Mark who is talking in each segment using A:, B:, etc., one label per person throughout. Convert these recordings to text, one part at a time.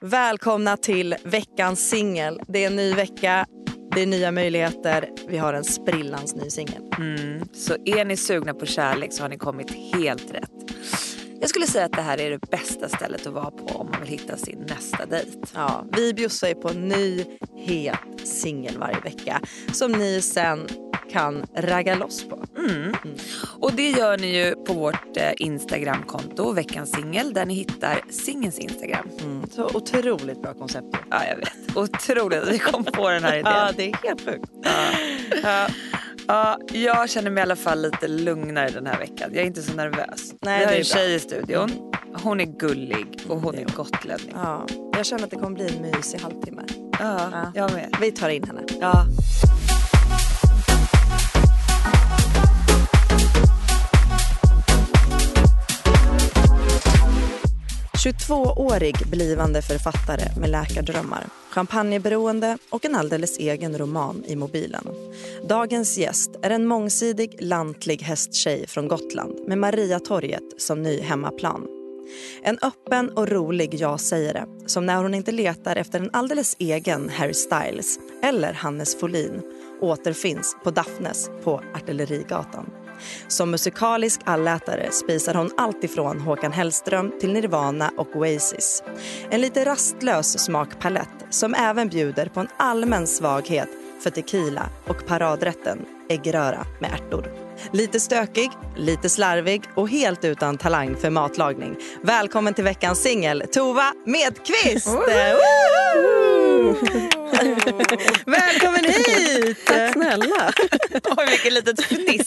A: Välkomna till veckans singel. Det är en ny vecka, det är nya möjligheter. Vi har en sprillans ny singel.
B: Mm. Så är ni sugna på kärlek så har ni kommit helt rätt. Jag skulle säga att det här är det bästa stället att vara på om man vill hitta sin nästa dejt.
A: Ja, vi bjussar ju på en ny het singel varje vecka som ni sen kan ragga loss på.
B: Och det gör ni ju på vårt eh, Instagramkonto, veckans singel, där ni hittar singelns Instagram.
A: Mm, Så otroligt bra koncept. ju.
B: Ja, jag vet. Otroligt att vi kom på den här idén.
A: Ja, det är helt sjukt.
B: Ja. Ja, jag känner mig i alla fall lite lugnare den här veckan. Jag är inte så nervös.
A: Nej,
B: Vi har
A: det är
B: en
A: bra.
B: tjej i studion. Hon är gullig och hon är gotlänning.
A: Ja, jag känner att det kommer bli en mysig halvtimme.
B: Ja, jag med.
A: Vi tar in henne.
B: Ja.
A: Mm. 22-årig blivande författare med läkardrömmar, champagneberoende och en alldeles egen roman i mobilen. Dagens gäst är en mångsidig, lantlig hästtjej från Gotland med Mariatorget som ny hemmaplan. En öppen och rolig ja-sägare som när hon inte letar efter en alldeles egen Harry Styles eller Hannes Folin återfinns på Daphnes på Artillerigatan. Som musikalisk allätare spisar hon allt ifrån Håkan Hellström till Nirvana och Oasis. En lite rastlös smakpalett som även bjuder på en allmän svaghet för tequila och paradrätten äggröra med ärtor. Lite stökig, lite slarvig och helt utan talang för matlagning. Välkommen till veckans singel, Tova Medqvist! Woho! Välkommen hit!
C: Tack snälla.
B: Oj, vilket litet fniss.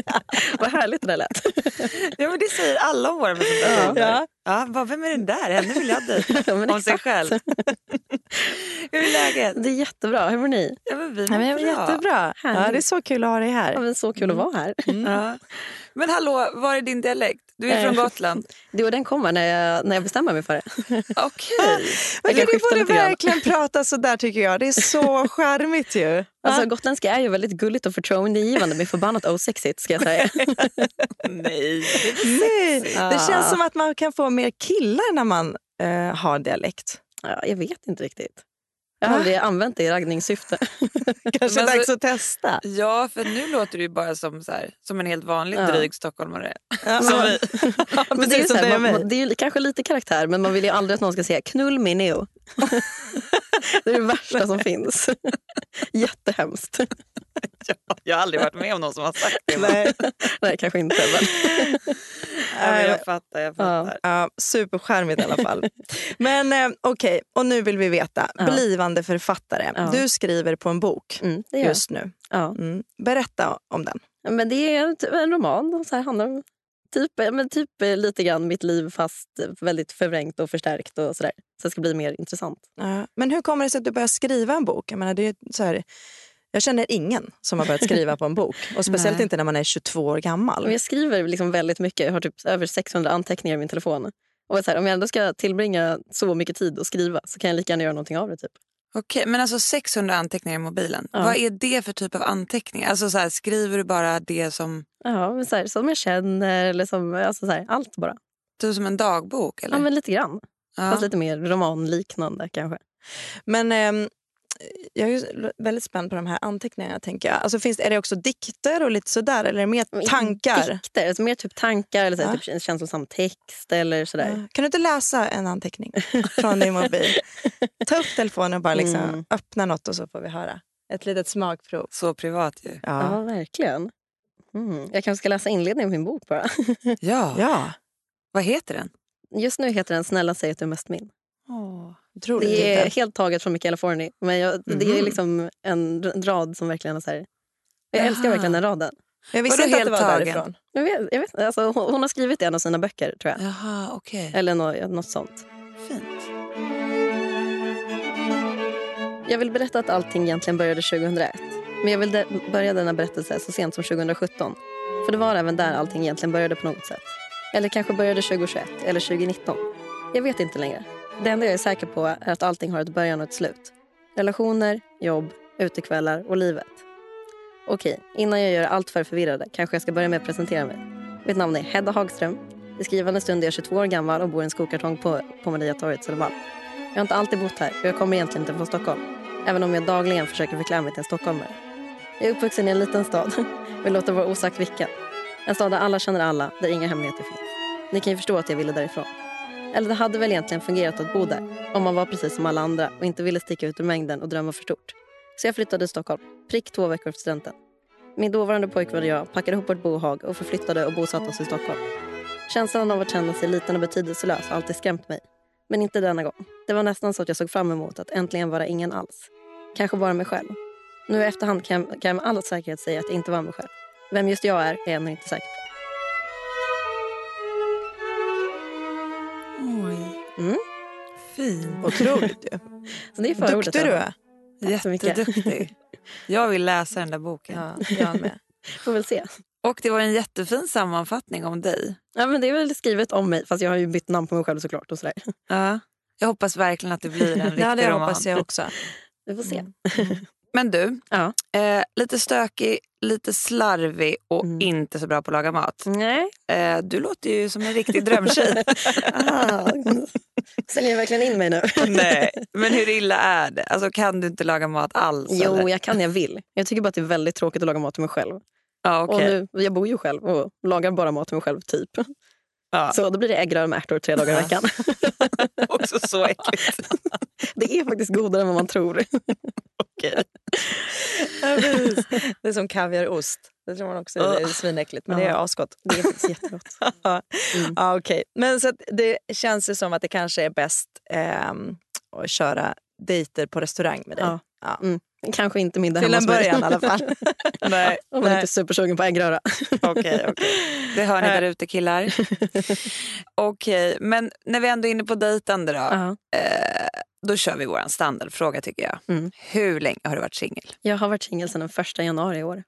C: Vad härligt det där lät.
B: ja, men det säger alla om våra presentationer.
C: Ja.
B: Ja, bara, vem är den där? Henne vill jag dejta.
C: Ja, men
B: om sig själv. Hur är läget?
C: Det är jättebra. Hur mår ni?
B: Ja, men vi
A: Ja,
B: mår
A: men jag mår
B: bra.
A: jättebra. Ja,
C: Härligt.
A: det är så kul att ha dig
C: Ja,
A: här.
C: men så kul att vara här.
B: Ja. Mm. Men hallå, var är din dialekt? Du är
C: Eh.
B: från Gotland.
C: Du och den kommer när jag, när jag bestämmer mig för det.
B: Okej.
A: Men
C: Jag kan
A: du
C: skifta
A: borde
C: lite grann.
A: verkligen prata så där tycker jag. Det är så charmigt ju.
C: Alltså, gotländska är ju väldigt gulligt och förtroendegivande men förbannat osexigt ska jag säga.
B: Nej.
A: Nej, det
C: Ah.
A: känns som att man kan få mer killar när man eh, har dialekt.
C: Ja, jag vet inte riktigt. Jag har aldrig använt det i raggningssyfte.
A: Kanske
B: Men
A: dags
B: alltså-
A: att testa.
B: Ja, för nu låter du ju bara som, så här, som en helt vanlig
C: Ja.
B: dryg stockholmare.
A: Ja,
B: Som vi.
C: Men det är, ju
A: precis som
C: så
A: dig
C: här,
A: och mig.
C: man, man, det är ju kanske lite karaktär men man vill ju aldrig att någon ska säga knull mig nu. det är det värsta som finns. Jättehemskt.
B: Jag har aldrig varit med om någon som har sagt det. Nej.
A: Nej.
C: Nej, kanske inte. Men.
B: men jag fattar, jag fattar.
A: Ja, superskärmigt i alla fall. Men eh, okej, och nu vill vi veta.
C: Ja.
A: Blivande författare.
C: Ja.
A: Du skriver på en bok
C: Mm, det gör jag.
A: just nu.
C: Ja.
A: Mm. Berätta om den.
C: Men det är en- en roman. och Så här handlar om typ, men typ lite grann mitt liv fast väldigt förvrängt och förstärkt. och sådär. Så det ska bli mer intressant.
A: Ja, Men hur kommer det sig att du börjar skriva en bok? Jag, menar, det är ju så här, jag känner ingen som har börjat skriva på en bok. Och speciellt
B: Nej.
A: inte när man är 22 år gammal.
C: Men jag skriver liksom väldigt mycket. Jag har typ över 600 anteckningar i min telefon. Och så här, om jag ändå ska tillbringa så mycket tid och skriva så kan jag lika gärna göra någonting av det. Typ.
B: Okej, men alltså 600 anteckningar i mobilen.
C: Ja.
B: Vad är det för typ av anteckningar? Alltså så här, skriver du bara det som,
C: Ja, men så här, som jag känner, eller som, alltså så här, allt bara.
B: typ som en dagbok? Eller?
C: Ja, men lite grann.
B: Ja.
C: Fast lite mer romanliknande kanske.
A: Men ehm, jag är ju väldigt spänd på de här anteckningarna. tänker jag. Alltså, finns, är det också dikter och lite sådär eller är det mer tankar?
C: Dikter, alltså mer typ tankar eller så här,
A: Ja.
C: typ känslosam text. eller så där.
A: Ja. Kan du inte läsa en anteckning från din mobil? Ta upp telefonen och bara liksom
C: Mm.
A: öppna något och så får vi höra. Ett litet smakprov.
B: Så privat ju.
A: Ja.
C: Ja, verkligen. Mm. Jag kanske ska läsa inledningen på min bok bara.
B: Ja.
A: Ja,
B: Vad heter den?
C: Just nu heter den Snälla säg att du är mest min.
A: otroligt.
C: Oh, Det är
A: titel.
C: helt taget från Michaela Forni. Men jag, det är
A: Mhm.
C: liksom en r- rad som verkligen är så här... Jag
B: Jaha.
C: älskar verkligen den raden.
A: Jag visste
B: Vadå
A: inte att det
B: helt
A: var
B: tagen?
A: därifrån.
C: Jag vet, jag vet, alltså, hon, hon har skrivit i en av sina böcker, tror jag.
B: Jaha, okej.
C: Eller något, något sånt.
B: Eh, Fint.
C: Jag vill berätta att allting egentligen började 2001. Men jag vill de- börja denna berättelse så sent som 2017. För det var även där allting egentligen började på något sätt. Eller kanske började 2021 eller 2019. Jag vet inte längre. Det enda jag är säker på är att allting har ett början och ett slut. Relationer, jobb, utekvällar och livet. Okej, innan jag gör er allt för förvirrade kanske jag ska börja med att presentera mig. Mitt namn är Hedda Hagström. I skrivande stund är jag 22 år gammal och bor i en skokartong på, på Mariatorget Södermalm. Jag har inte alltid bott här och jag kommer egentligen inte från Stockholm. Även om jag dagligen försöker förklä mig till en stockholmare. Jag är uppvuxen i en liten stad. Vi låter vara osagt vilken. En stad där alla känner alla, där inga hemligheter finns. Ni kan ju förstå att jag ville därifrån. Eller det hade väl egentligen fungerat att bo där om man var precis som alla andra och inte ville sticka ut ur mängden och drömma för stort. Så jag flyttade till Stockholm, prick två veckor efter studenten. Min dåvarande pojkvän och jag packade ihop vårt bohag och förflyttade och bosatte oss i Stockholm. Känslan av att känna sig liten och betydelselös har alltid skrämt mig. Men inte denna gång. Det var nästan så att jag såg fram emot att äntligen vara ingen alls. Kanske bara mig själv. Nu i efterhand kan jag, kan jag med all säkerhet säga att jag inte var mig själv. Vem just jag är är jag ännu inte säker på.
B: Oj.
C: Mm.
B: Fin.
A: Otroligt ju.
C: Så det är förordet.
A: Duktig du
C: då.
A: är.
C: Tack så mycket.
B: Jätteduktig. Jag vill läsa den där boken.
A: Ja, jag med.
C: Får väl se.
B: Och det var en jättefin sammanfattning om dig.
C: Ja, men det är väl skrivet om mig, fast jag har ju bytt namn på mig själv såklart. Och sådär.
B: Ja. Jag hoppas verkligen att det blir en riktig
A: Ja, det
B: roman.
A: hoppas jag också.
C: Vi får se.
A: Mm.
B: Men du,
C: Ja.
B: eh, lite stökig, lite slarvig och
C: Mm.
B: inte så bra på att laga mat.
C: Nej.
B: Eh, du låter ju som en riktig drömtjej.
C: Ah. Säljer jag verkligen in mig nu?
A: Alltså,
B: Nej, men hur illa är det? Alltså, kan du inte laga mat alls?
C: Jo,
B: eller?
C: jag kan, jag vill. Jag tycker bara att det är väldigt tråkigt att laga mat till mig själv.
B: Ja, okej.
C: Och nu, jag bor ju själv och lagar bara mat till mig själv, typ.
B: Ja.
C: Så då blir det äggröra med ärtor tre dagar i
B: Ja.
C: veckan.
B: Också så äckligt.
C: Det är faktiskt godare än vad man tror.
B: Okej.
A: Det är som kaviarost. Det tror man också är
B: Ugh.
A: svinäckligt, men det är
C: Ja.
A: asgott.
C: Det är faktiskt jättegott.
A: Ja, okej. Men så att det känns ju som att det kanske är bäst ehm, att köra dejter på restaurang med dig.
C: Ja. Kanske inte middag
A: Till
C: hemma
A: en
C: hos mig.
A: början i alla fall.
B: Nej,
C: Om man inte är supersugen på äggröra.
B: okej, okej. Det hör ni där ute killar. Okej, men när vi ändå är inne på dejtande då.
C: Ja.
B: Eh, då kör vi vår standardfråga tycker jag.
C: Mm.
B: Hur länge har du varit singel?
C: Jag har varit singel sedan den första januari i år.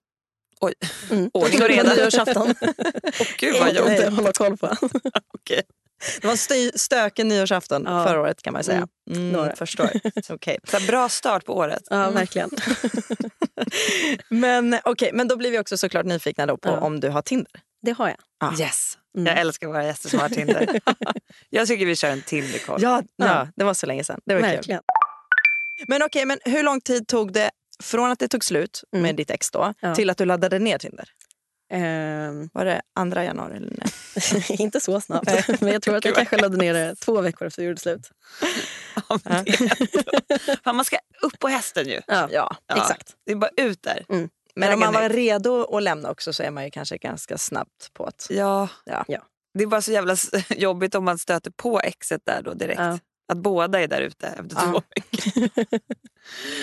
B: Oj.
C: Mm.
B: Ordning och reda.
C: Nyårsafton.
B: Åh gud
C: Det
B: vad
C: var
B: jobbigt.
C: inte att hålla koll på.
A: Det var en sty- stökig nyårsafton
C: Ja.
A: förra året kan man säga. Mm,
C: det var det.
A: förstår. Okej.
B: Så här, bra start på året.
C: Ja, verkligen.
A: Men, okej, men då blir vi också såklart nyfikna då på
C: Ja.
A: om du har Tinder.
C: Det har jag.
A: Ja.
B: Yes.
C: Mm.
B: Jag älskar våra gäster som har Tinder. jag tycker vi kör en Tinder-koll.
A: Ja, ja.
C: Ja.
A: det var så länge sedan. Det var kul.
C: Verkligen.
A: Men okej, men hur lång tid tog det från att det tog slut
C: Mm.
A: med ditt ex då
C: Ja.
A: till att du laddade ner Tinder?
C: Ehm,
A: Var det andra januari? Eller nej?
C: inte så snabbt, men jag tror att jag kanske laddade ner det två veckor efter vi gjorde slut.
B: Ja, men det är ändå- Fan, man ska upp på hästen ju.
C: Ja,
A: Ja.
B: Ja.
C: exakt.
B: Det är bara ut där.
A: Men om
B: Vägen
A: man var redo att lämna också så är man ju kanske ganska snabbt på att...
B: Ja.
A: Ja.
C: Ja.
B: Det är bara så jävla s- jobbigt om man stöter på exet där då direkt.
C: Ja.
B: Att båda är där ute efter
A: Ja.
B: två veckor.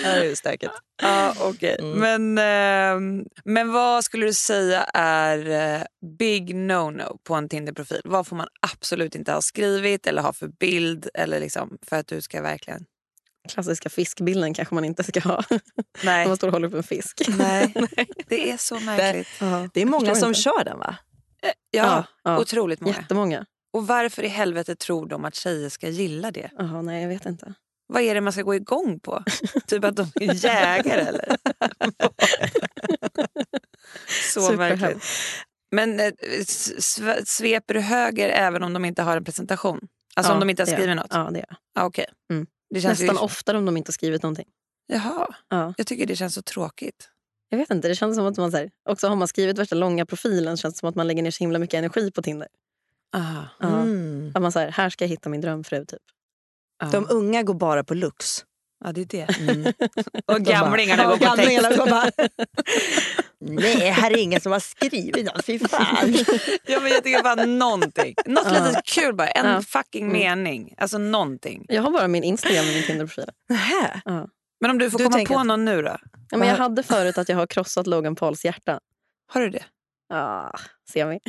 A: Det är ju stökigt.
B: Ja, okej.
A: Mm.
B: men, ehm, men vad skulle du säga är eh, big no-no på en Tinder-profil? Vad får man absolut inte ha skrivit eller ha för bild eller liksom, för att du ska verkligen...
C: Klassiska fiskbilden kanske man inte ska ha. När
B: Nej.
C: man står och håller upp en fisk.
B: Nej, det är så märkligt. Eh,
C: Ja,
A: Det är många
C: förstår
A: som
C: inte.
A: kör den va?
B: Ja,
C: ja.
B: Otroligt många.
C: Jättemånga.
B: Och varför i helvete tror de att tjejer ska gilla det?
C: Jaha, nej, jag vet inte.
B: Vad är det man ska gå igång på? typ att de är jägare eller? så
C: Superhemskt.
B: märkligt. Men eh, s- sve- sveper du höger även om de inte har en presentation? Alltså
C: Ja,
B: om de inte har
C: det gör
B: skrivit
C: jag.
B: något?
C: Ja, det gör jag.
B: Ah, okej.
C: Mm.
B: Det känns
C: Nästan
B: ju...
C: oftare om de inte har skrivit någonting.
B: Jaha,
C: Ja.
B: jag tycker det känns så tråkigt.
C: Jag vet inte, det känns som att man... Så här, också har man skrivit värsta långa profilen känns det som att man lägger ner så himla mycket energi på Tinder.
B: Ah,
C: Ja.
A: Mm. Ah.
C: Att man så här, här ska jag hitta min drömfru typ.
B: ja.
A: De unga går bara på lux.
B: ja, det är det.
A: Mm.
B: Och gamlingarna
C: Ja,
B: går på text.
C: gamlingarna går bara-
A: Nej, här är ingen som har skrivit något. Fy fan.
B: Ja, men jag tycker bara någonting. Något
C: Ja.
B: litet kul bara. En
C: Ja.
B: fucking
C: Mm.
B: mening. Alltså någonting.
C: Jag har bara min Instagram i min Tinder-profil.
A: Nähä.
B: Men om du får
A: Du
B: komma
A: tänker
B: på
A: att-
B: någon nu då?
C: Ja, men jag hade förut att jag har krossat Logan Pauls hjärta.
B: Har du det?
C: Ah, ser vi.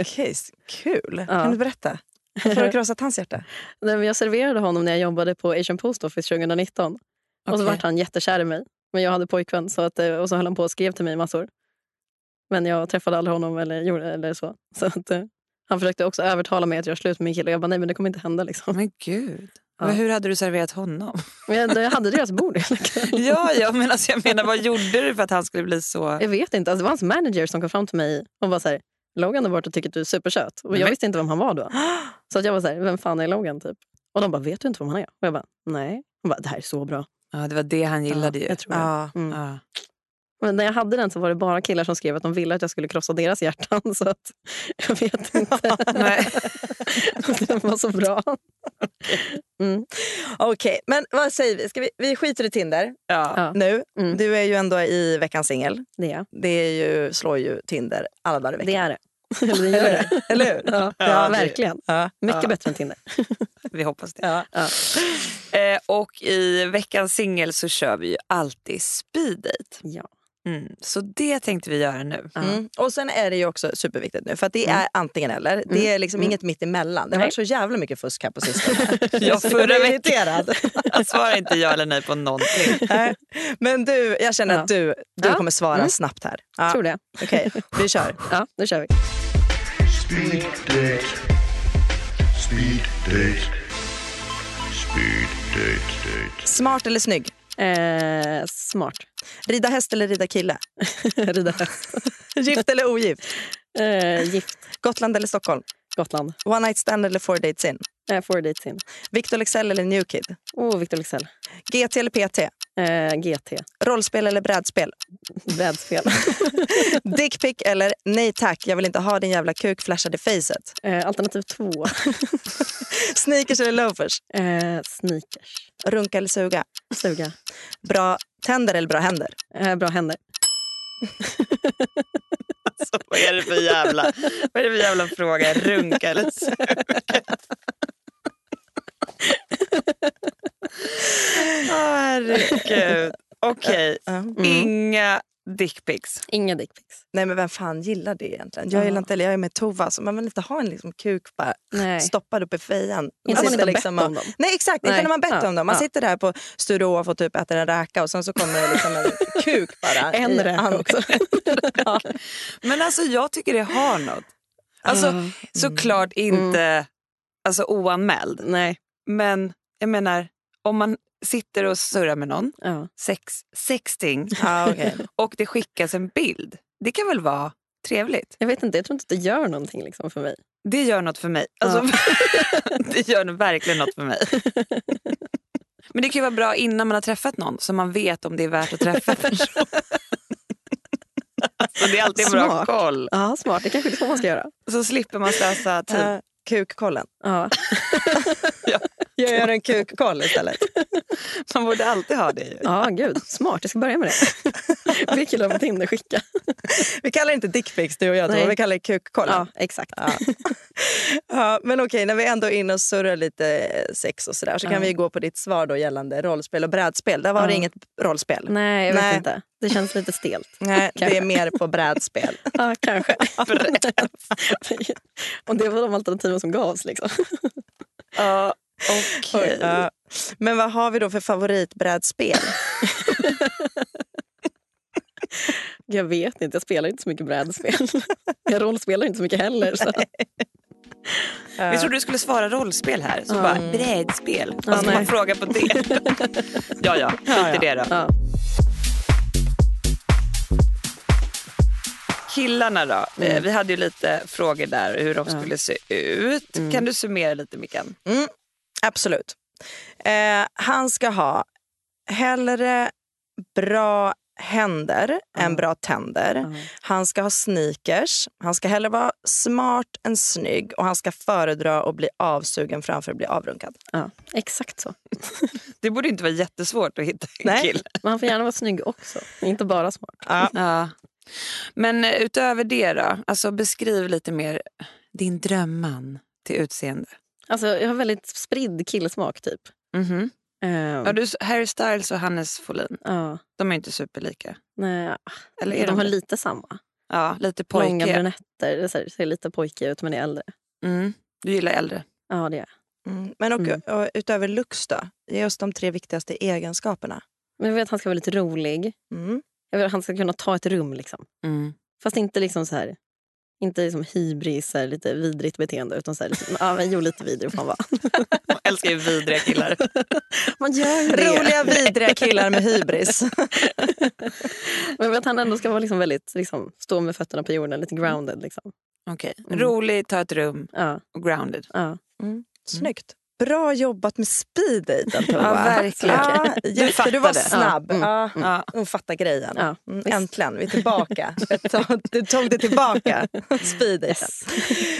A: Okej, s- kul. Kan du berätta? Varför har du krossat hans hjärta?
C: Nej, men jag serverade honom när jag jobbade på Asian Post Office 2019. Och så
B: Okej.
C: vart han jättekär i mig. Men jag hade pojkvän så att, eh, och så höll han på och skrev till mig massor. Men jag träffade aldrig honom eller, gjorde, eller så. så att, eh, han försökte också övertala mig att göra slut med min kille. Jag bara, nej men det kommer inte hända. Liksom.
B: Men gud.
C: Ja.
B: Men hur hade du serverat honom?
C: Men jag, jag hade deras bord. helt enkelt.
B: ja, ja, men alltså, jag menar, vad gjorde du för att han skulle bli så...
C: Jag vet inte. Alltså, det var hans manager som kom fram till mig och var så här, Logan har varit och tycker att du är supersöt. Och jag
B: Men-
C: visste inte vem han var då. Så att jag var så här, vem fan är Logan typ? Och de bara, vet du inte vem han är? Och jag bara, nej. Hon bara, det här är så bra.
B: Ja, det var det han gillade ju.
C: jag tror det.
B: ja.
C: Mm.
B: Ja.
C: Men när jag hade den så var det bara killar som skrev att de ville att jag skulle krossa deras hjärtan. Så att jag vet inte.
B: Nej.
C: den var så bra.
A: Okej, men vad säger vi? Ska vi, vi skiter i Tinder
B: Ja.
C: Ja.
A: nu.
C: Mm.
A: Du är ju ändå i veckans singel.
C: Det är jag.
A: Det är ju, slår ju Tinder alla dagar i veckan.
C: Det är det. Eller det gör det.
A: Eller hur?
C: Ja,
A: Ja, det-
C: verkligen.
A: Ja.
C: Mycket
B: Ja.
C: bättre än Tinder.
B: Vi hoppas det.
A: Ja.
B: Eh, och i veckans singel så kör vi ju alltid speed date.
C: Ja.
B: Mm. Så det tänkte vi göra nu.
A: Mm. Och sen är det ju också superviktigt nu för att det
C: Mm.
A: är antingen eller. Det är liksom inget mitt emellan. Det har
C: Nej.
A: varit så jävla mycket fusk här på sistone.
B: Ja, förra
A: Jag är
B: veckan.
A: irriterad.
B: Svara inte ja eller nej på någonting.
A: Nej. Men du, jag känner att du, du
C: Ja.
A: kommer svara
C: Mm.
A: snabbt här. Ja.
C: Tror det.
A: Okej, vi kör.
C: Ja, nu kör vi.
D: Speed date. Speed date. Speed date date.
A: Smart eller snygg?
C: Eh, smart.
A: Rida häst eller rida kille?
C: Rida häst.
A: Gift eller ogift?
C: Eh, gift.
A: Gotland eller Stockholm?
C: Gotland.
A: One night stand eller four dates in?
C: Eh, four dates in.
A: Victor Leksell eller Newkid?
C: Oh, Victor Leksell.
A: GT eller PT?
C: Eh, GT.
A: Rollspel eller brädspel?
C: Brädspel.
A: Dickpick eller nej tack, jag vill inte ha din jävla kuk flashad i facet?
C: Eh, alternativ två.
A: Sneakers eller loafers?
C: Eh, sneakers.
A: Runka eller suga?
C: Suga.
A: Bra tänder eller bra händer?
C: Eh, bra händer.
B: Så vad är det för jävla, vad är det för jävla fråga? Runka eller suga? Åh, herregud. Okej, inga dickpics.
C: Mm. Inga dickpics.
A: Nej men vem fan gillar det egentligen? Jag
C: Ja.
A: gillar inte, eller jag är med Tova, så man vill inte ha en liksom, kuk bara
C: Nej.
A: stoppad upp i fejan.
C: Inte om man
A: sitter
C: inte
A: liksom
C: bett
A: och-
C: om dem.
A: Nej exakt, inte
C: Nej.
A: när man bett
C: Ja,
A: om dem. Man
C: ja.
A: sitter där på Sturehof och typ äter en räka och sen så kommer det liksom en kuk bara. i
C: En räka
A: handen.
C: också.
B: Men alltså jag tycker det har något. Alltså
C: Ja. Mm.
B: såklart inte alltså, oanmäld.
C: Nej.
B: Men jag menar om man sitter och surrar med någon,
C: Ja.
B: sex, sexting,
A: Ja, okej.
B: och det skickas en bild. Det kan väl vara trevligt?
C: Jag vet inte, jag tror inte det gör någonting liksom för mig.
B: Det gör något för mig. Alltså, det gör verkligen något för mig. Men det kan ju vara bra innan man har träffat någon så man vet om det är värt att träffa personen. Alltså, det är alltid bra
C: Smart.
B: koll.
C: Ja, smart. Det kanske är så man ska göra.
B: Så slipper man slösa tid.
A: Eh, Kukkollen.
C: Ja.
A: Jag gör en kukkoll istället.
B: Man borde alltid ha det. ju.
C: Ja, gud. Smart. Jag ska börja med det. Be killar på Tinder skicka.
A: Vi kallar det inte dickpics du och jag, Tova,
C: Nej.
A: vi kallar det kukkollen.
C: Ja, exakt.
A: Ja, men okej, när vi ändå är inne och surrar lite sex och sådär så kan
C: Ja.
A: vi gå på ditt svar då gällande rollspel och brädspel. Där var det
C: Ja.
A: inget rollspel.
C: Nej, jag vet
A: Nej.
C: inte. Det känns lite stelt.
A: Nej, det
C: Kanske.
A: är mer på brädspel.
C: Ja, kanske. Och det var de alternativen som gavs. Liksom.
B: Ja, okej.
A: Ja. Men vad har vi då för favoritbrädspel?
C: Jag vet inte, jag spelar inte så mycket brädspel. Jag rollspelar inte så mycket heller. Så.
B: Vi trodde du skulle svara rollspel här. Så bara, brädspel. Vad ska
C: nej.
B: man fråga på det? ja, ja. Skit i det då.
C: Ja.
B: Killarna då? Eh, Vi hade ju lite frågor där hur de skulle se ut. Kan du summera lite Mickan?
A: Absolut. Eh, han ska ha hellre bra händer än bra tänder. Han ska ha sneakers. Han ska hellre vara smart än snygg och han ska föredra att bli avsugen framför att bli avrunkad.
C: Ja, exakt så.
B: Det borde inte vara jättesvårt att hitta en
A: Nej.
B: kille.
C: Man får gärna vara snygg också, inte bara smart.
B: Ja. Men eh, utöver det då? Alltså beskriv lite mer din drömman till utseende.
C: Alltså, jag har väldigt spridd killsmak, typ.
B: Mhm.
C: Ehm,
B: Ja, du, Harry Styles och Hannes Folin,
C: ja,
B: de är inte superlika.
C: nej,
B: Eller är
C: de
B: de,
C: har
B: det?
C: lite samma.
B: Ja, lite
C: Långa
B: pojkiga.
C: brunetter. Det är så här- ser lite pojkig ut, men är äldre.
B: Mm. Du gillar äldre.
C: Ja, det är. jag.
A: Mm. Men och,
C: Mm.
A: och utöver looks då? Ge oss de tre viktigaste egenskaperna.
C: Men jag vill att han ska vara lite rolig.
A: Mm.
C: Jag vill att han ska kunna ta ett rum. liksom.
B: Mm.
C: Fast inte liksom så här... Inte liksom hybris, så här, lite vidrigt beteende. Utan så här, liksom, ja, men, jo, lite vidrig får han vara.
B: Jag älskar ju vidriga killar.
C: Man gör ju det.
A: Roliga, vidriga killar med hybris.
C: Men jag vill att han ändå ska vara liksom väldigt, liksom, stå med fötterna på jorden, lite grounded. Liksom.
B: Okej.
C: Mm.
B: Rolig, ta ett rum
C: Ja,
B: och grounded.
C: ja.
A: Snyggt. Bra jobbat med speeddejten Tova.
B: Ja, verkligen.
A: Ja, jätte, du var
B: fattade.
A: snabb.
C: Ja, mm,
A: Ja.
B: mm.
A: Ja. Hon fattar grejen.
C: Ja,
A: Mm,
C: visst.
A: Äntligen, vi är tillbaka. Jag tog- Du tog det tillbaka, speeddejten.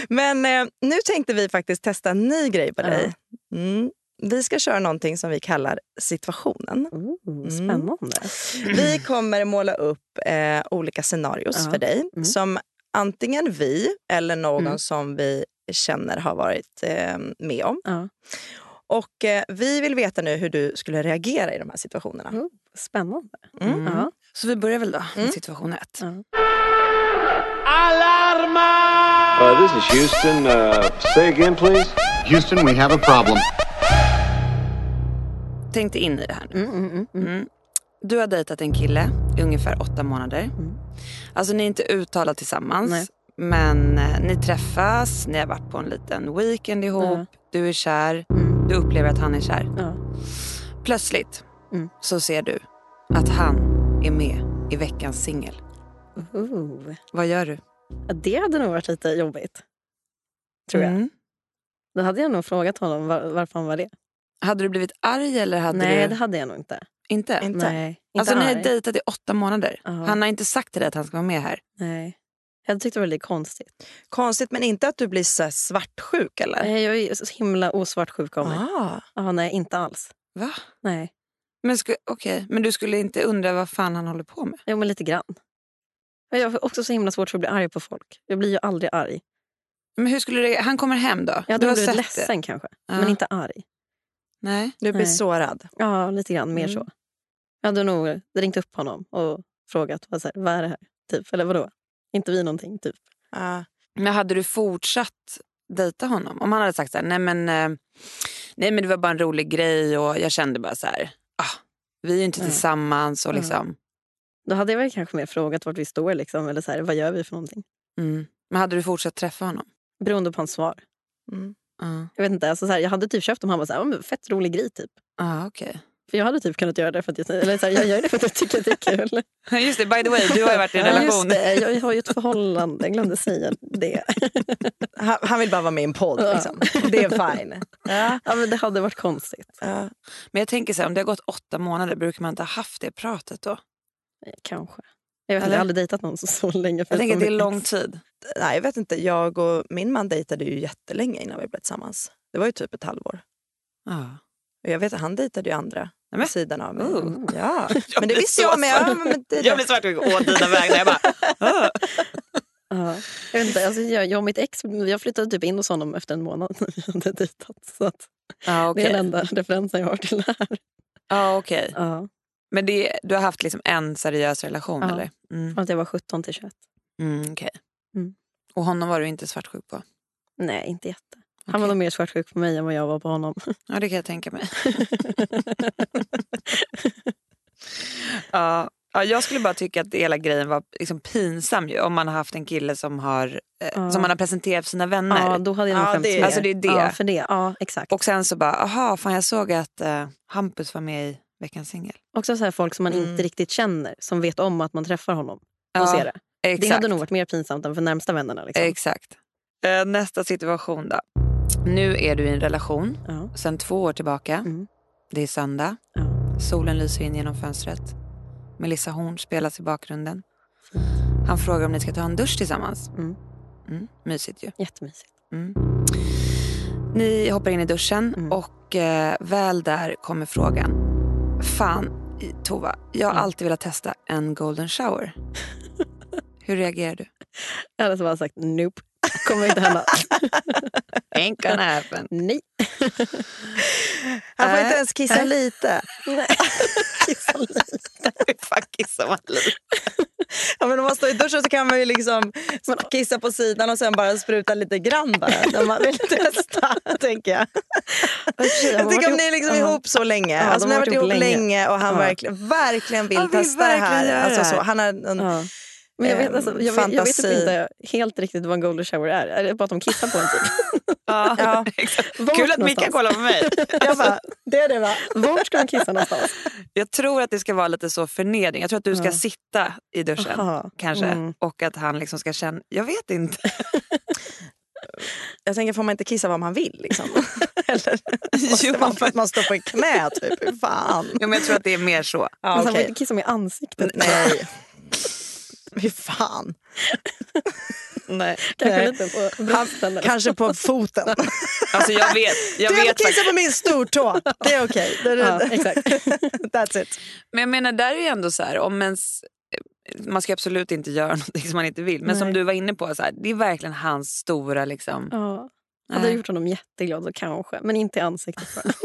A: Men eh, nu tänkte vi faktiskt testa en ny grej på
C: Ja.
A: dig. Mm. Vi ska köra någonting som vi kallar situationen.
C: Ooh, spännande.
A: Vi kommer måla upp eh, olika scenarios
C: Ja.
A: för dig
C: Mm.
A: som antingen vi eller någon
C: Mm.
A: som vi känner har varit eh, med om.
C: Ja.
A: Och eh, Vi vill veta nu hur du skulle reagera i de här situationerna.
C: Mm. Spännande.
A: Mm.
C: Ja.
B: Så vi börjar väl då
A: Mm.
B: med situation ett.
C: Ja.
E: Uh, this is Houston. Uh, say again, please.
D: Houston, we have a problem.
B: Tänk dig in i det här nu.
C: Mm, mm, mm, mm.
B: Mm. Du har dejtat en kille i ungefär åtta månader.
C: Mm.
B: Alltså ni är inte uttalat tillsammans.
C: Nej.
B: Men eh, ni träffas, ni har varit på en liten weekend ihop.
C: Ja.
B: Du är kär,
C: Mm.
B: du upplever att han är kär.
C: Ja.
B: Plötsligt
C: Mm.
B: så ser du att han är med i veckans singel.
C: Ooh.
B: Vad gör du?
C: Ja, Det hade nog varit lite jobbigt. Tror jag.
B: Mm.
C: Då hade jag nog frågat honom var, varför han var det.
B: Hade du blivit arg eller hade
C: Nej,
B: du...
C: det hade jag nog inte.
B: Inte?
A: Inte?
C: Nej, inte
B: Alltså ni har
C: arg.
B: dejtat i åtta månader.
C: Ja.
B: Han har inte sagt till dig att han ska vara med här.
C: Nej. Jag tyckte det var lite konstigt.
A: Konstigt, men inte att du blir så här svartsjuk
B: Äh.
A: eller?
C: Nej, Jag är ju så himla osvartsjuk av mig.
A: Ah.
C: Ja, nej, inte alls.
B: Va?
C: Nej.
B: Men, sku... okej, men du skulle inte undra vad fan han håller på med?
C: Jo, men lite grann. Men jag har också så himla svårt för att bli arg på folk. Jag blir ju aldrig arg.
B: Men hur skulle du... reagera? Han kommer hem då?
C: Jag hade
B: du har
C: nog blivit
B: sett det.
C: ledsen kanske,
B: Ja.
C: men inte arg.
B: Nej.
A: Du blir
C: Nej.
A: sårad.
C: Ja, lite grann mer
A: Mm.
C: så. Jag hade nog ringt upp honom och frågat vad, så här, vad är det här? Typ, eller vadå? Inte vi någonting, typ.
A: Ah.
B: Men hade du fortsatt dejta honom? Om han hade sagt så här, nej men, eh, nej men det var bara en rolig grej och jag kände bara så här, ah, vi är ju inte
C: Mm.
B: tillsammans och
C: Mm.
B: liksom.
C: Då hade jag väl kanske mer frågat vart vi står liksom, eller så här, vad gör vi för någonting?
B: Mm. Men hade du fortsatt träffa honom?
C: Beroende på hans svar.
A: Mm.
B: Ja,
C: Jag vet inte, alltså, så här, jag hade typ köpt om han var så här, "Ja, men fett rolig grej typ.
B: ah, okej.
C: För jag hade typ kunnat göra det för att jag, eller så här, jag gör det för att jag tycker att det är kul.
B: Just det, by the way, du har ju varit i en
C: Ja,
B: relation.
C: Just det, jag har ju ett förhållande, jag glömde säga det.
A: Han, han vill bara vara med i en podd.
C: Ja.
A: Liksom. Det är fine. Ja.
C: Ja, men det hade varit konstigt.
A: Ja.
B: Men jag tänker så här, om det har gått åtta månader, brukar man inte ha haft det pratet då?
C: Kanske. Jag vet inte,
B: Eller?
C: jag har aldrig dejtat någon så, så länge.
B: Jag tänker att det är
C: förutom
B: lång tid.
A: Nej, jag vet inte. Jag och min man dejtade ju jättelänge innan vi blev tillsammans. Det var ju typ ett halvår.
B: Ja.
A: Och jag vet att han dejtade ju andra
B: men-
A: på sidan av mig.
B: Oh.
A: Ja.
B: Jag
A: Men det
B: blir
A: visste
B: så
A: jag med. Ja,
B: svart.
A: men det,
B: Jag blir svartsjuk å dina vägnar. Jag bara, ah.
C: Ja. Jag, vet inte, alltså jag, jag och mitt ex jag flyttade typ in hos honom efter en månad när vi hade dejtat. Så att
B: Ja,
C: Det är
B: okej.
C: den enda referensen jag har till det här.
B: Ja, okej.
C: Ja.
B: Men det, du har haft liksom en seriös relation?
C: Ja.
B: Eller? Mm.
C: Från att jag var 17 till 21.
B: Mm, okej.
C: Mm.
B: Och honom var du inte svartsjuk på?
C: Nej, inte jätte. Han
B: Okej.
C: var nog mer svartsjuk på mig än vad jag var på honom.
B: Ja, det kan jag tänka mig. ja, ja, jag skulle bara tycka att hela grejen var liksom pinsam ju, om man har haft en kille som, har, eh,
C: Ja.
B: som man har presenterat för sina vänner.
C: Ja, då hade jag nog
A: Ja,
C: skämts
A: det-
C: mer.
B: alltså det är det.
C: Ja, för det. Ja, exakt.
B: Och sen så bara, aha, fan jag såg att eh, Hampus var med i Veckans singel.
C: Också så här folk som man
A: Mm.
C: inte riktigt känner, som vet om att man träffar honom. Och
B: Ja,
C: ser det.
B: Exakt.
C: Det hade nog varit mer pinsamt än för närmsta vännerna. Liksom.
B: Exakt. Eh, nästa situation då. Nu är du i en relation
C: Ja.
B: sen två år tillbaka.
C: Mm.
B: Det är söndag.
C: Ja.
B: Solen lyser in genom fönstret. Melissa Horn spelas i bakgrunden. Han frågar om ni ska ta en dusch tillsammans.
C: Mm.
B: Mm, mysigt ju.
C: Jättemysigt.
B: Mm. Ni hoppar in i duschen
C: Mm.
B: och eh, väl där kommer frågan. Fan, i- Tova, jag har
C: Mm.
B: alltid velat testa en golden shower. Hur reagerar du?
C: Jag hade så bara sagt nope. Kommer inte hända.
B: Ain't gonna happen.
C: Nej.
A: Han får inte
B: Äh.
A: ens kissa lite.
C: Kissa lite.
B: Fuck, som man
A: Ja, men om man står i duschen så kan man ju liksom kissa på sidan och sen bara spruta lite grann bara. När man vill testa, tänker jag. Jag tycker om ni är liksom
C: Ja.
A: ihop så länge.
C: Ja, de
A: alltså, ni har varit ihop länge, och han
C: Ja.
A: verkligen, verkligen vill
B: Han vill
A: testa det
B: verkligen
A: här.
B: göra det
A: Alltså, så.
B: här.
A: Han har en,
C: Ja. Men jag vet,
A: Ehm,
C: alltså, jag, vet, jag vet typ
A: fantasi.
C: inte helt riktigt vad en golden shower är. Är det bara att de kissar på en typ?
B: Ja,
A: Ja.
B: exakt.
C: Vart
B: Kul att Micke
C: någonstans?
B: kollar på mig.
A: jag bara, det är det va?
C: Vart ska de kissa någonstans?
B: Jag tror att det ska vara lite så förnedring. Jag tror att du ska
C: Ja.
B: sitta i duschen
C: Aha.
B: kanske
C: Mm.
B: och att han liksom ska känna... Jag vet inte.
A: Jag tänker, får man inte kissa vad man vill? Liksom? Eller måste
B: Jo,
A: man, för
B: men-
A: att man står på knä, typ? Hur fan? Alltså,
B: Ja, men jag tror att det är mer så.
A: Ja,
C: Man Alltså, får
A: okej.
C: inte kissa mig i ansiktet.
A: Nej. Hur fan? Nej.
C: Kanske
A: Nej.
C: lite på brösten. eller-
A: Kanske på foten.
B: Alltså jag vet, jag
A: du
B: vet
A: kissa
B: faktiskt.
A: på min stortå. Det är okej. Det är-
C: Ja, exakt.
A: That's it.
B: Men jag menar, där är ju ändå så här, om ens, man ska absolut inte göra någonting som man inte vill. Men som
C: Nej.
B: du var inne på, så här, det är verkligen hans stora liksom.
C: Ja.
B: Nej.
C: Hade jag gjort honom jätteglad så kanske, men inte i ansiktet. bara.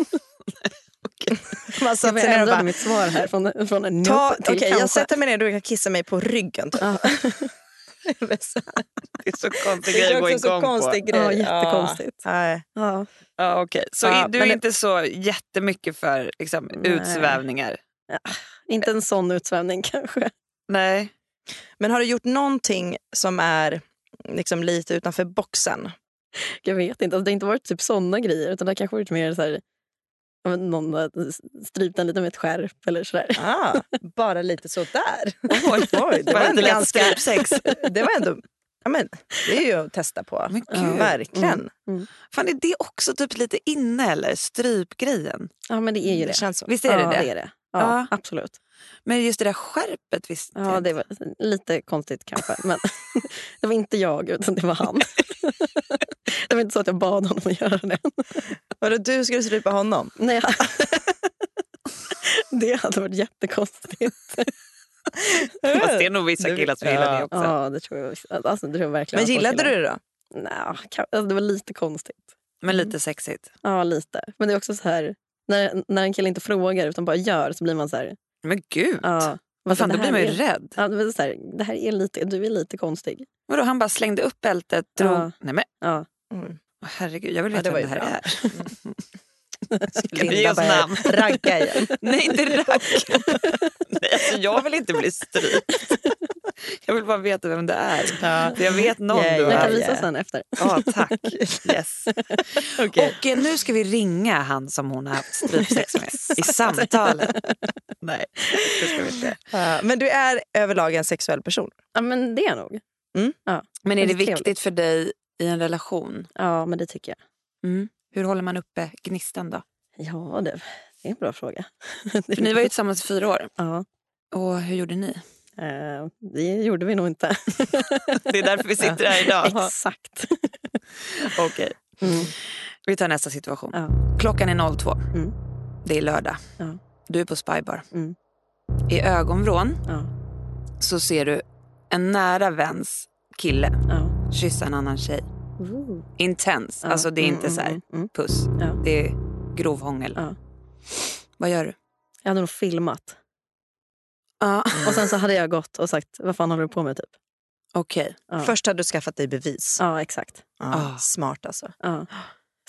A: Man
C: Jag
A: sätter
C: vill
A: sig ner och
C: ändra
A: bara,
C: mitt svar här från, från en
A: ta,
C: nope till
A: okej, jag
C: kanske.
A: sätter mig ner du kan kissa mig på ryggen. Typ.
C: Ja.
B: Det är så konstig
A: Det är också så konstig grej.
C: Ja, jättekonstigt.
A: Ja. Nej.
C: Ja.
B: Ja, okej. Så
A: Ja,
B: i- du
A: men
B: är
A: det-
B: inte så jättemycket för liksom,
C: Nej.
B: utsvävningar?
C: Inte en sån utsvävning kanske.
B: Nej.
A: Men har du gjort någonting som är liksom, lite utanför boxen?
C: Jag vet inte. Alltså, det har inte varit typ såna grejer. Utan det har kanske varit mer så här, ja, men någon eh, har strypt en lite med ett skärp eller sådär.
A: Ah, bara lite sådär.
B: Oj,
A: Oj, det
B: Bara
A: var
B: inte
A: ändå
B: lätt
A: ganska... Sex. Det var ändå... Ja, men, det är ju att testa på.
B: Men
A: Ja,
B: gud.
A: Verkligen.
C: Mm.
B: Fan, är det också typ lite inne eller? Strypgrejen?
C: Ja, men det är ju det.
A: Det känns så.
B: Visst är det
C: ja,
B: det?
C: är det. Mm. Ja,
B: Ja.
C: absolut.
B: Men just det där skärpet visst
C: Ja, det var lite konstigt kanske. Men det var inte jag, utan det var han. det var inte så att jag bad honom att göra det.
A: Vadå, du skulle strypa honom?
C: Nej, jag... det hade varit jättekonstigt.
B: Fast det är nog vissa
A: Du-
B: killar som gillar det
A: ja.
B: också.
C: Ja, det tror jag, visst. alltså, det tror jag verkligen.
A: Men gillade du det då?
C: det? Nej, kan- alltså, det var lite konstigt.
B: Men lite sexigt.
C: Ja, lite. Men det är också så här, när, när en kille inte frågar utan bara gör så blir man så här...
B: Men gud!
C: Ja,
B: Vad fan,
C: det
B: då blir
C: här
B: man ju
C: är-
B: rädd.
C: ja, det, var så här, det här är lite, du är lite konstig.
B: Vadå, han bara slängde upp bältet, drog...
C: Ja.
B: Nej men
C: Ja.
A: Mm.
B: åh, herregud, jag vill
A: Ja,
B: veta
A: det var
B: vem det
A: ju
B: här
A: bra. Mm.
B: är. Kan du ge oss
A: börjar
B: namn?
A: Ragga igen.
B: Nej, inte rack. Nej, alltså, jag vill inte bli strypt. Jag vill bara veta vem det är.
A: Ja.
B: För jag vet någon
A: Ja,
B: du
A: ja,
C: Jag
B: är.
C: kan visa sen efter.
B: Ja, tack. Yes. Och eh, nu ska vi ringa han som hon har haft strypsex med i samtalen. Nej, det ska vi inte.
A: Ja, Men du är överlag en sexuell person?
C: Ja, men det är nog.
B: Men är
C: Det
B: det
C: är trevligt.
B: viktigt för dig i en relation? Mm.
C: Ja, men det tycker jag.
B: Hur håller man uppe gnistan då?
C: Ja, det, det är en bra fråga.
B: För ni var ju tillsammans i fyra år.
C: Ja,
B: Och hur gjorde ni?
C: eh, det gjorde vi nog inte.
B: Det är därför vi sitter här idag.
C: Exakt.
B: Okej.
C: Mm.
B: Vi tar nästa situation.
C: Ja.
B: Klockan är 02.
C: Mm.
B: Det är lördag.
C: Ja.
B: Du är på Spybar.
C: Mm.
B: I ögonvrån
C: Ja,
B: så ser du en nära väns kille
C: ja.
B: kyssa en annan tjej.
C: Ooh.
B: Intens.
C: Ja,
B: Alltså det är
C: mm,
B: inte
C: mm,
B: så här
C: mm, mm.
B: puss.
C: Ja.
B: Det är grov hångel.
C: Ja.
B: Vad gör du?
C: Jag hade nog filmat.
B: Ja.
C: Och sen så hade jag gått och sagt, vad fan håller du på med typ?
B: Okej.
C: Ja.
A: Först hade du skaffat dig bevis.
C: Ja, exakt.
A: Ja,
B: Ah.
A: Smart alltså.
C: Ja.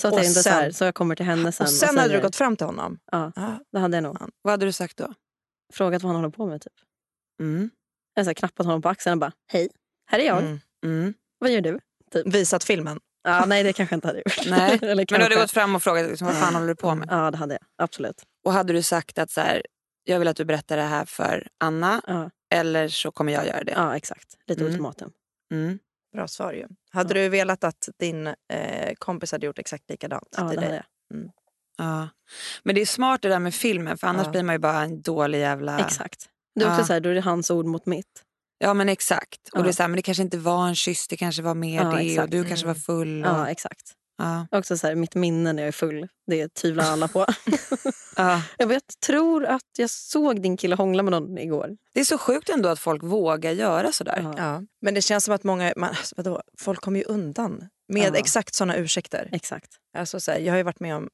C: Så att
A: Och
C: jag inte så, här,
A: sen-
C: så jag kommer till henne sen.
A: Och sen
C: säger-
A: hade du gått fram till honom?
C: Ja.
A: Ah.
C: Det hade jag nog.
B: Vad hade du sagt då?
C: Frågat vad han håller på med typ.
B: Mm.
C: Jag så här, knappat honom på axeln och bara, hej, här är jag.
A: Mm.
B: Mm.
C: Vad gör du?
A: Visat filmen?
C: Ja, nej, det kanske jag inte hade gjort.
B: Nej.
C: Eller
B: Men då
C: kanske.
B: hade du gått fram och frågat liksom, vad fan håller du på med?
C: Ja, det hade jag. Absolut.
B: Och hade du sagt att så här, jag vill att du berättar det här för Anna
C: Ja,
B: eller så kommer jag göra det.
C: ja exakt. Lite
B: Mm.
C: ultimatum.
B: Mm.
A: Bra svar ju. Hade du velat att din eh, kompis hade gjort exakt likadant
C: Ja,
A: till
C: det hade
A: dig?
C: jag.
B: Ja. Men det är smart det där med filmen för annars
A: Ja.
B: blir man ju bara en dålig jävla...
C: Exakt. Det är också
B: Ja.
C: så här, då är det hans ord mot mitt.
B: Ja men exakt. Och
C: Ja.
B: det är så här, men det kanske inte var en kyss, det kanske var mer
C: Ja,
B: det och
C: exakt.
B: du kanske var full. Och,
C: Ja,
B: Mm. ja.
C: exakt.
B: Ja.
C: Också så här, mitt minne när jag är full, det tvivlar alla på. jag vet, tror att jag såg din kille hångla med någon igår.
B: Det är så sjukt ändå att folk vågar göra sådär.
C: Ja,
A: Ja. Men det känns som att många, man, alltså, vadå, folk kommer ju undan med
C: Ja.
A: exakt såna ursäkter.
C: Exakt.
A: Alltså, så här, jag har ju varit med om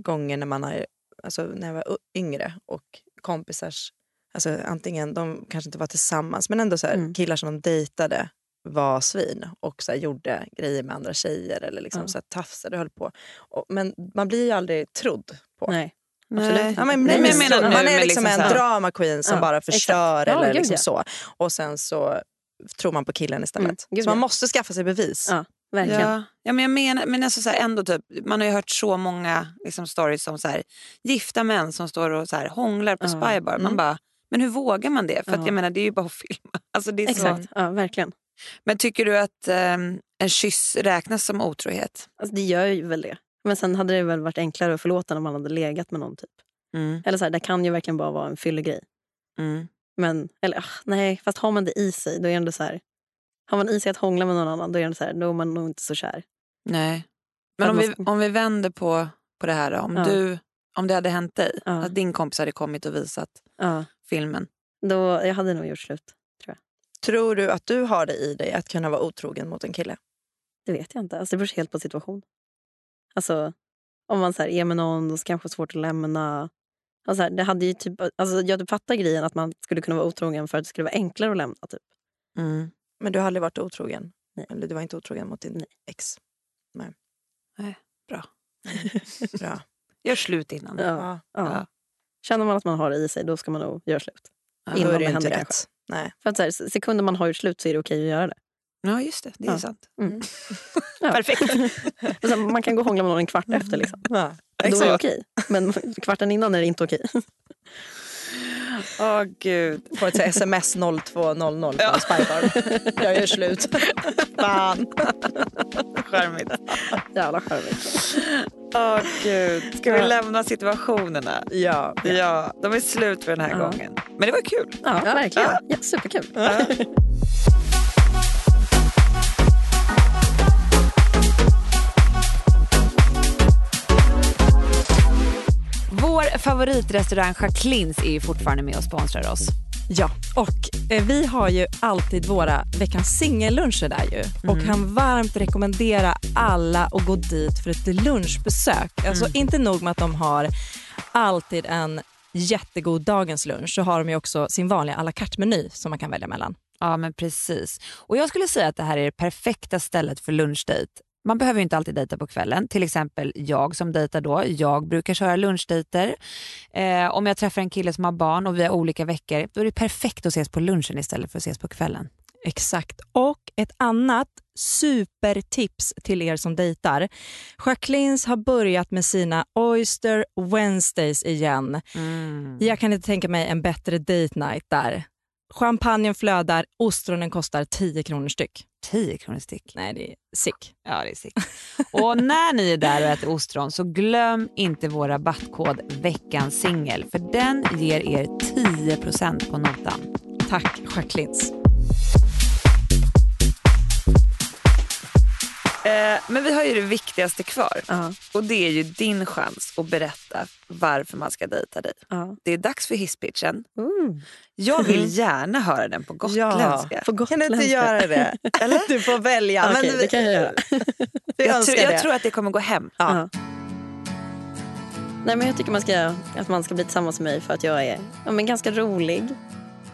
A: gånger när, man har, alltså, när jag var u- yngre och kompisars, alltså, antingen de kanske inte var tillsammans men ändå så här,
C: Mm.
A: killar som de dejtade var svin och så här, gjorde grejer med andra tjejer eller liksom,
C: Ja.
A: så här, tafsade och höll på. Och, men man blir ju aldrig trodd på.
C: Nej.
B: Nej.
A: Ja, men, nej,
C: Nej, men
A: men,
C: jag menar
A: man
B: nu
A: är
B: med
A: liksom
B: liksom
A: en
B: så här-
A: drama queen som
C: Ja,
A: bara
C: exakt.
A: förstör
C: Ja,
A: eller
C: gud,
A: liksom
C: ja.
A: så. Och sen så tror man på killen
C: Mm,
A: istället.
C: gud,
A: så man
C: ja.
A: måste skaffa sig bevis.
C: Ja. Verkligen.
B: Ja. ja, men jag menar, men alltså så här, ändå typ, man har ju hört så många liksom, stories om så här, gifta män som står och så här, hånglar på
C: Ja.
B: spybar. Man
A: Mm.
B: bara, men hur vågar man det? För att
C: Ja.
B: jag menar, det är ju bara att filma. Alltså, det är så,
C: Exakt. Ja, verkligen.
B: Men tycker du att ehm, en kyss räknas som otrohet?
C: Alltså, det gör ju väl det. Men sen hade det väl varit enklare att förlåta när man hade legat med någon typ.
B: Mm.
C: Eller så här, det kan ju verkligen bara vara en fyllegrej.
B: Mm.
C: Men, eller ah, nej, fast har man det i sig då är det ändå så här. Har man i sig att hångla med någon annan då är det ändå så här, då är man nog inte så kär.
B: Nej. Men
C: Att
B: om
C: man
B: vi,
C: ska-
B: om vi vänder på, på det här då. Om,
C: Ja.
B: du, om det hade hänt dig,
C: Ja.
B: att din kompis hade kommit och visat
C: Ja,
B: filmen.
C: då, jag hade nog gjort slut.
A: Tror du att du har det i dig att kunna vara otrogen mot en kille?
C: Det vet jag inte. Alltså, det beror helt på situation. Alltså, om man så här, är med någon då så kanske det är svårt att lämna. Alltså, så här, det hade ju typ, alltså, jag fattar grejen att man skulle kunna vara otrogen för att det skulle vara enklare att lämna. Typ.
B: Mm.
A: Men du har aldrig varit otrogen?
C: Nej.
A: Eller du var inte otrogen mot din
C: Nej.
A: ex? Nej.
B: Nej, bra.
A: bra.
B: Gör slut innan.
C: Ja.
A: Ja.
C: Ja. Känner man att man har det i sig då ska man nog göra slut.
B: Ja,
A: Då
C: Innan
A: är
C: det
A: det inte
C: händer
A: rätt.
C: kanske.
A: Nej.
C: För att så här, sekunder man har gjort slut så är det okej att göra det.
B: Ja, just det. Det är
C: Ja.
B: sant.
C: Mm. Ja.
B: Perfekt.
C: Och sen, man kan gå och hångla med någon en kvart efter. Liksom.
A: Ja.
C: Då är det
A: Exakt.
C: okej. Men kvarten innan är det inte okej.
B: Åh, gud.
A: Får ett så här sms 0200 från ja. Jag gör slut. Fan.
B: Charmigt.
C: Jävla charmigt.
B: Åh, gud. Ska vi
C: Ja.
B: lämna situationerna?
A: Ja.
B: Ja, de är slut för den här
C: Ja.
B: gången. Men det var kul.
C: Ja, verkligen. Ja, superkul.
B: Vår favoritrestaurang Jacquelines är ju fortfarande med och sponsrar oss.
A: Ja, och eh, vi har ju alltid våra veckans singelluncher där ju. Och kan varmt rekommendera alla att gå dit för ett lunchbesök. Alltså inte nog med att de har alltid en jättegod dagens lunch så har de ju också sin vanliga à la carte-meny som man kan välja mellan.
B: Ja, men precis. Och jag skulle säga att det här är det perfekta stället för lunchdejt. Man behöver ju inte alltid dejta på kvällen. Till exempel jag som dejtar då. Jag brukar köra lunchdejter. Eh, om jag träffar en kille som har barn och vi har olika veckor, då är det perfekt att ses på lunchen istället för att ses på kvällen.
A: Exakt. Och ett annat supertips till er som dejtar. Jacquelines har börjat med sina Oyster Wednesdays igen.
B: Mm.
A: Jag kan inte tänka mig en bättre date night där. Champagnen flödar, ostronen kostar 10 kronor styck.
B: 10 kronor styck.
A: Nej, det är sick.
B: Ja, det är sick. Och när ni är där och äter ostron så glöm inte vår rabattkod veckans singel för den ger er 10% på notan.
A: Tack Jacquelines.
B: Eh, men vi har ju det viktigaste kvar
C: Ja,
B: och det är ju din chans att berätta varför man ska dejta dig.
C: ja.
B: Det är dags för hisspitchen.
C: Mm.
B: Jag vill gärna höra den på gotländska.
C: På gotländska.
A: det? Eller? Du får välja.
C: Okej, det kan jag göra.
B: jag, tror- jag tror att det kommer gå hem.
C: Ja. Nej, men jag tycker man ska, att man ska bli tillsammans med mig för att jag är ja, men ganska rolig.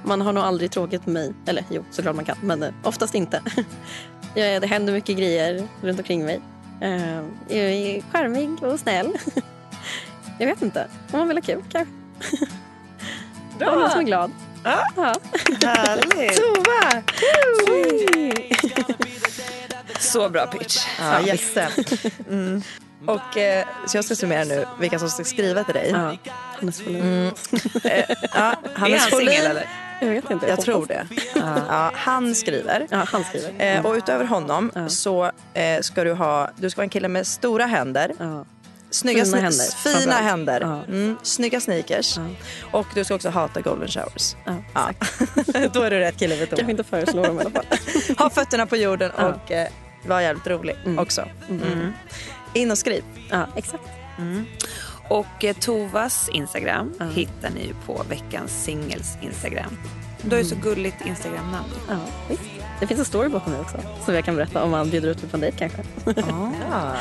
C: Man har nog aldrig tråkigt med mig. Eller jo, såklart man kan, men eh, oftast inte. Jag är, det händer mycket grejer runt omkring mig. Eh, Jag är charmig och snäll. Jag vet inte. Om man vill ha kul kanske. Bra! Om någon som är glad. Ja.
B: Härligt.
C: Tova!
B: Så bra pitch.
A: Ja, gästen. Mm. Och, eh, så jag ska summera nu vilka som ska skriva till dig.
C: Ja. Hannes Folin.
A: Mm. Ja,
B: Är han
A: Hannes
B: singel
A: Folin.
B: eller?
C: Jag vet inte.
A: Jag
C: hoppas.
A: tror det. Ja, han skriver.
C: Ja, han skriver.
A: Eh, och utöver honom så eh, ska du ha, du ska vara en kille med stora händer,
C: Ja.
A: snygga
C: Fina
A: sne-
C: händer,
A: fina
C: framförallt.
A: händer
C: Ja.
A: mm, snygga sneakers och du ska också hata golden showers.
C: Ja,
A: Då är du rätt kille för
C: Kanske
A: Thomas.
C: inte föreslår dem i alla fall.
A: Ha fötterna på jorden och eh, var jävligt rolig också. Mm. In och skriv.
C: Ja, exakt.
B: Mm. Och eh, Tovas Instagram hittar ni ju på veckans singels Instagram. Mm. Du har ju så gulligt Instagram-namn.
C: Ja, visst. Det finns en story bakom det också som jag kan berätta om man bjuder ut mig på en dejt kanske.
B: Bra!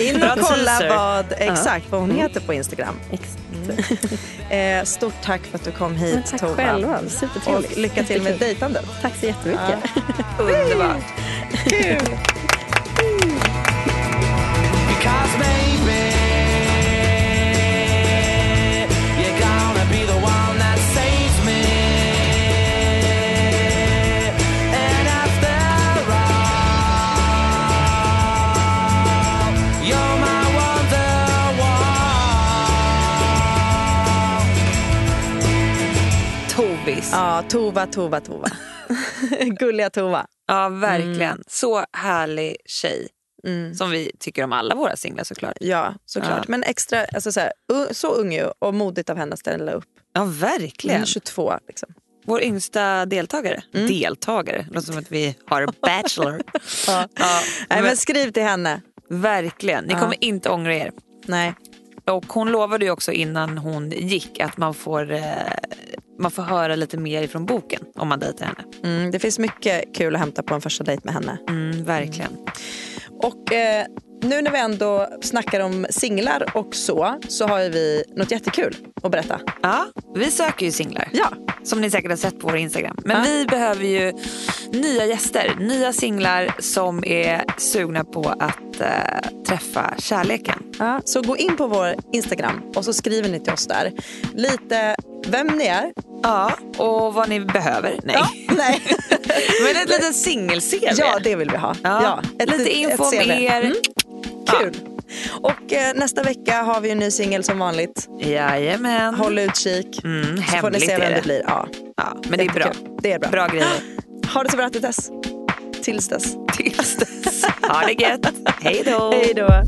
A: In
B: Bra
A: och kolla
B: teaser.
A: vad, exakt vad hon heter på Instagram.
C: Exakt.
A: Eh, stort tack för att du kom
C: Men
A: hit
C: tack
A: Tova.
C: själva,
A: Och
C: supertrevligt.
A: lycka till med
C: Jättekul.
A: dejtandet.
C: Tack så jättemycket.
B: Underbart.
F: Because maybe you're gonna be the one that saves me. And after all, you're my wonderwall.
B: Tovis. kompis.
F: Ja, Tova, Tova, Tova. Gulliga Tova.
B: Ja, verkligen. Så härlig tjej. Som vi tycker om alla våra singlar såklart.
F: Ja, såklart.
B: Ja.
F: Men extra, alltså så, här, u- så ung ju och modigt av henne att ställa upp.
B: Ja,
A: Mm.
F: Hon
B: verkligen.
F: är 22 liksom.
B: Mm, Vår yngsta deltagare. Deltagare, låter som att vi har Bachelor. ja.
F: Nej,
B: men,
F: men skriv till henne.
B: verkligen, ni kommer inte ångra er.
F: Nej.
B: Och hon lovade ju också innan hon gick att man får, eh, man får höra lite mer ifrån boken om man dejtar henne.
F: Mm, det finns mycket kul att hämta på en första dejt med henne.
B: Mm, verkligen.
F: Och eh, nu när vi ändå snackar om singlar och så, så har ju vi något jättekul att berätta.
B: Ja, vi söker ju singlar.
F: Ja.
B: Som ni säkert har sett på vår Instagram. Men vi behöver ju nya gäster, nya singlar som är sugna på att eh, träffa kärleken.
F: Ja, så gå in på vår Instagram och så skriver ni till oss där lite vem ni är.
B: Ja, och vad ni behöver. Nej.
F: Nej.
B: Men ett litet singel-CV.
F: ja, det vill vi ha.
B: Ja. lite
F: ett-
B: info om
F: ett CV.
B: er.
F: Mm, kul. Och eh, nästa vecka har vi en ny singel som vanligt.
B: Jajamän.
F: Håll utkik.
B: Mm,
F: så får ni
B: hemligt
F: se
B: är
F: vem det,
B: det.
F: blir. Ja.
B: Ja, men det är bra.
F: Jättekul. Det är bra.
B: Bra grejer.
F: Ha det så bra till dess. Tills dess.
B: Tills dess. Ha det gött. Hej då.
F: Hej då.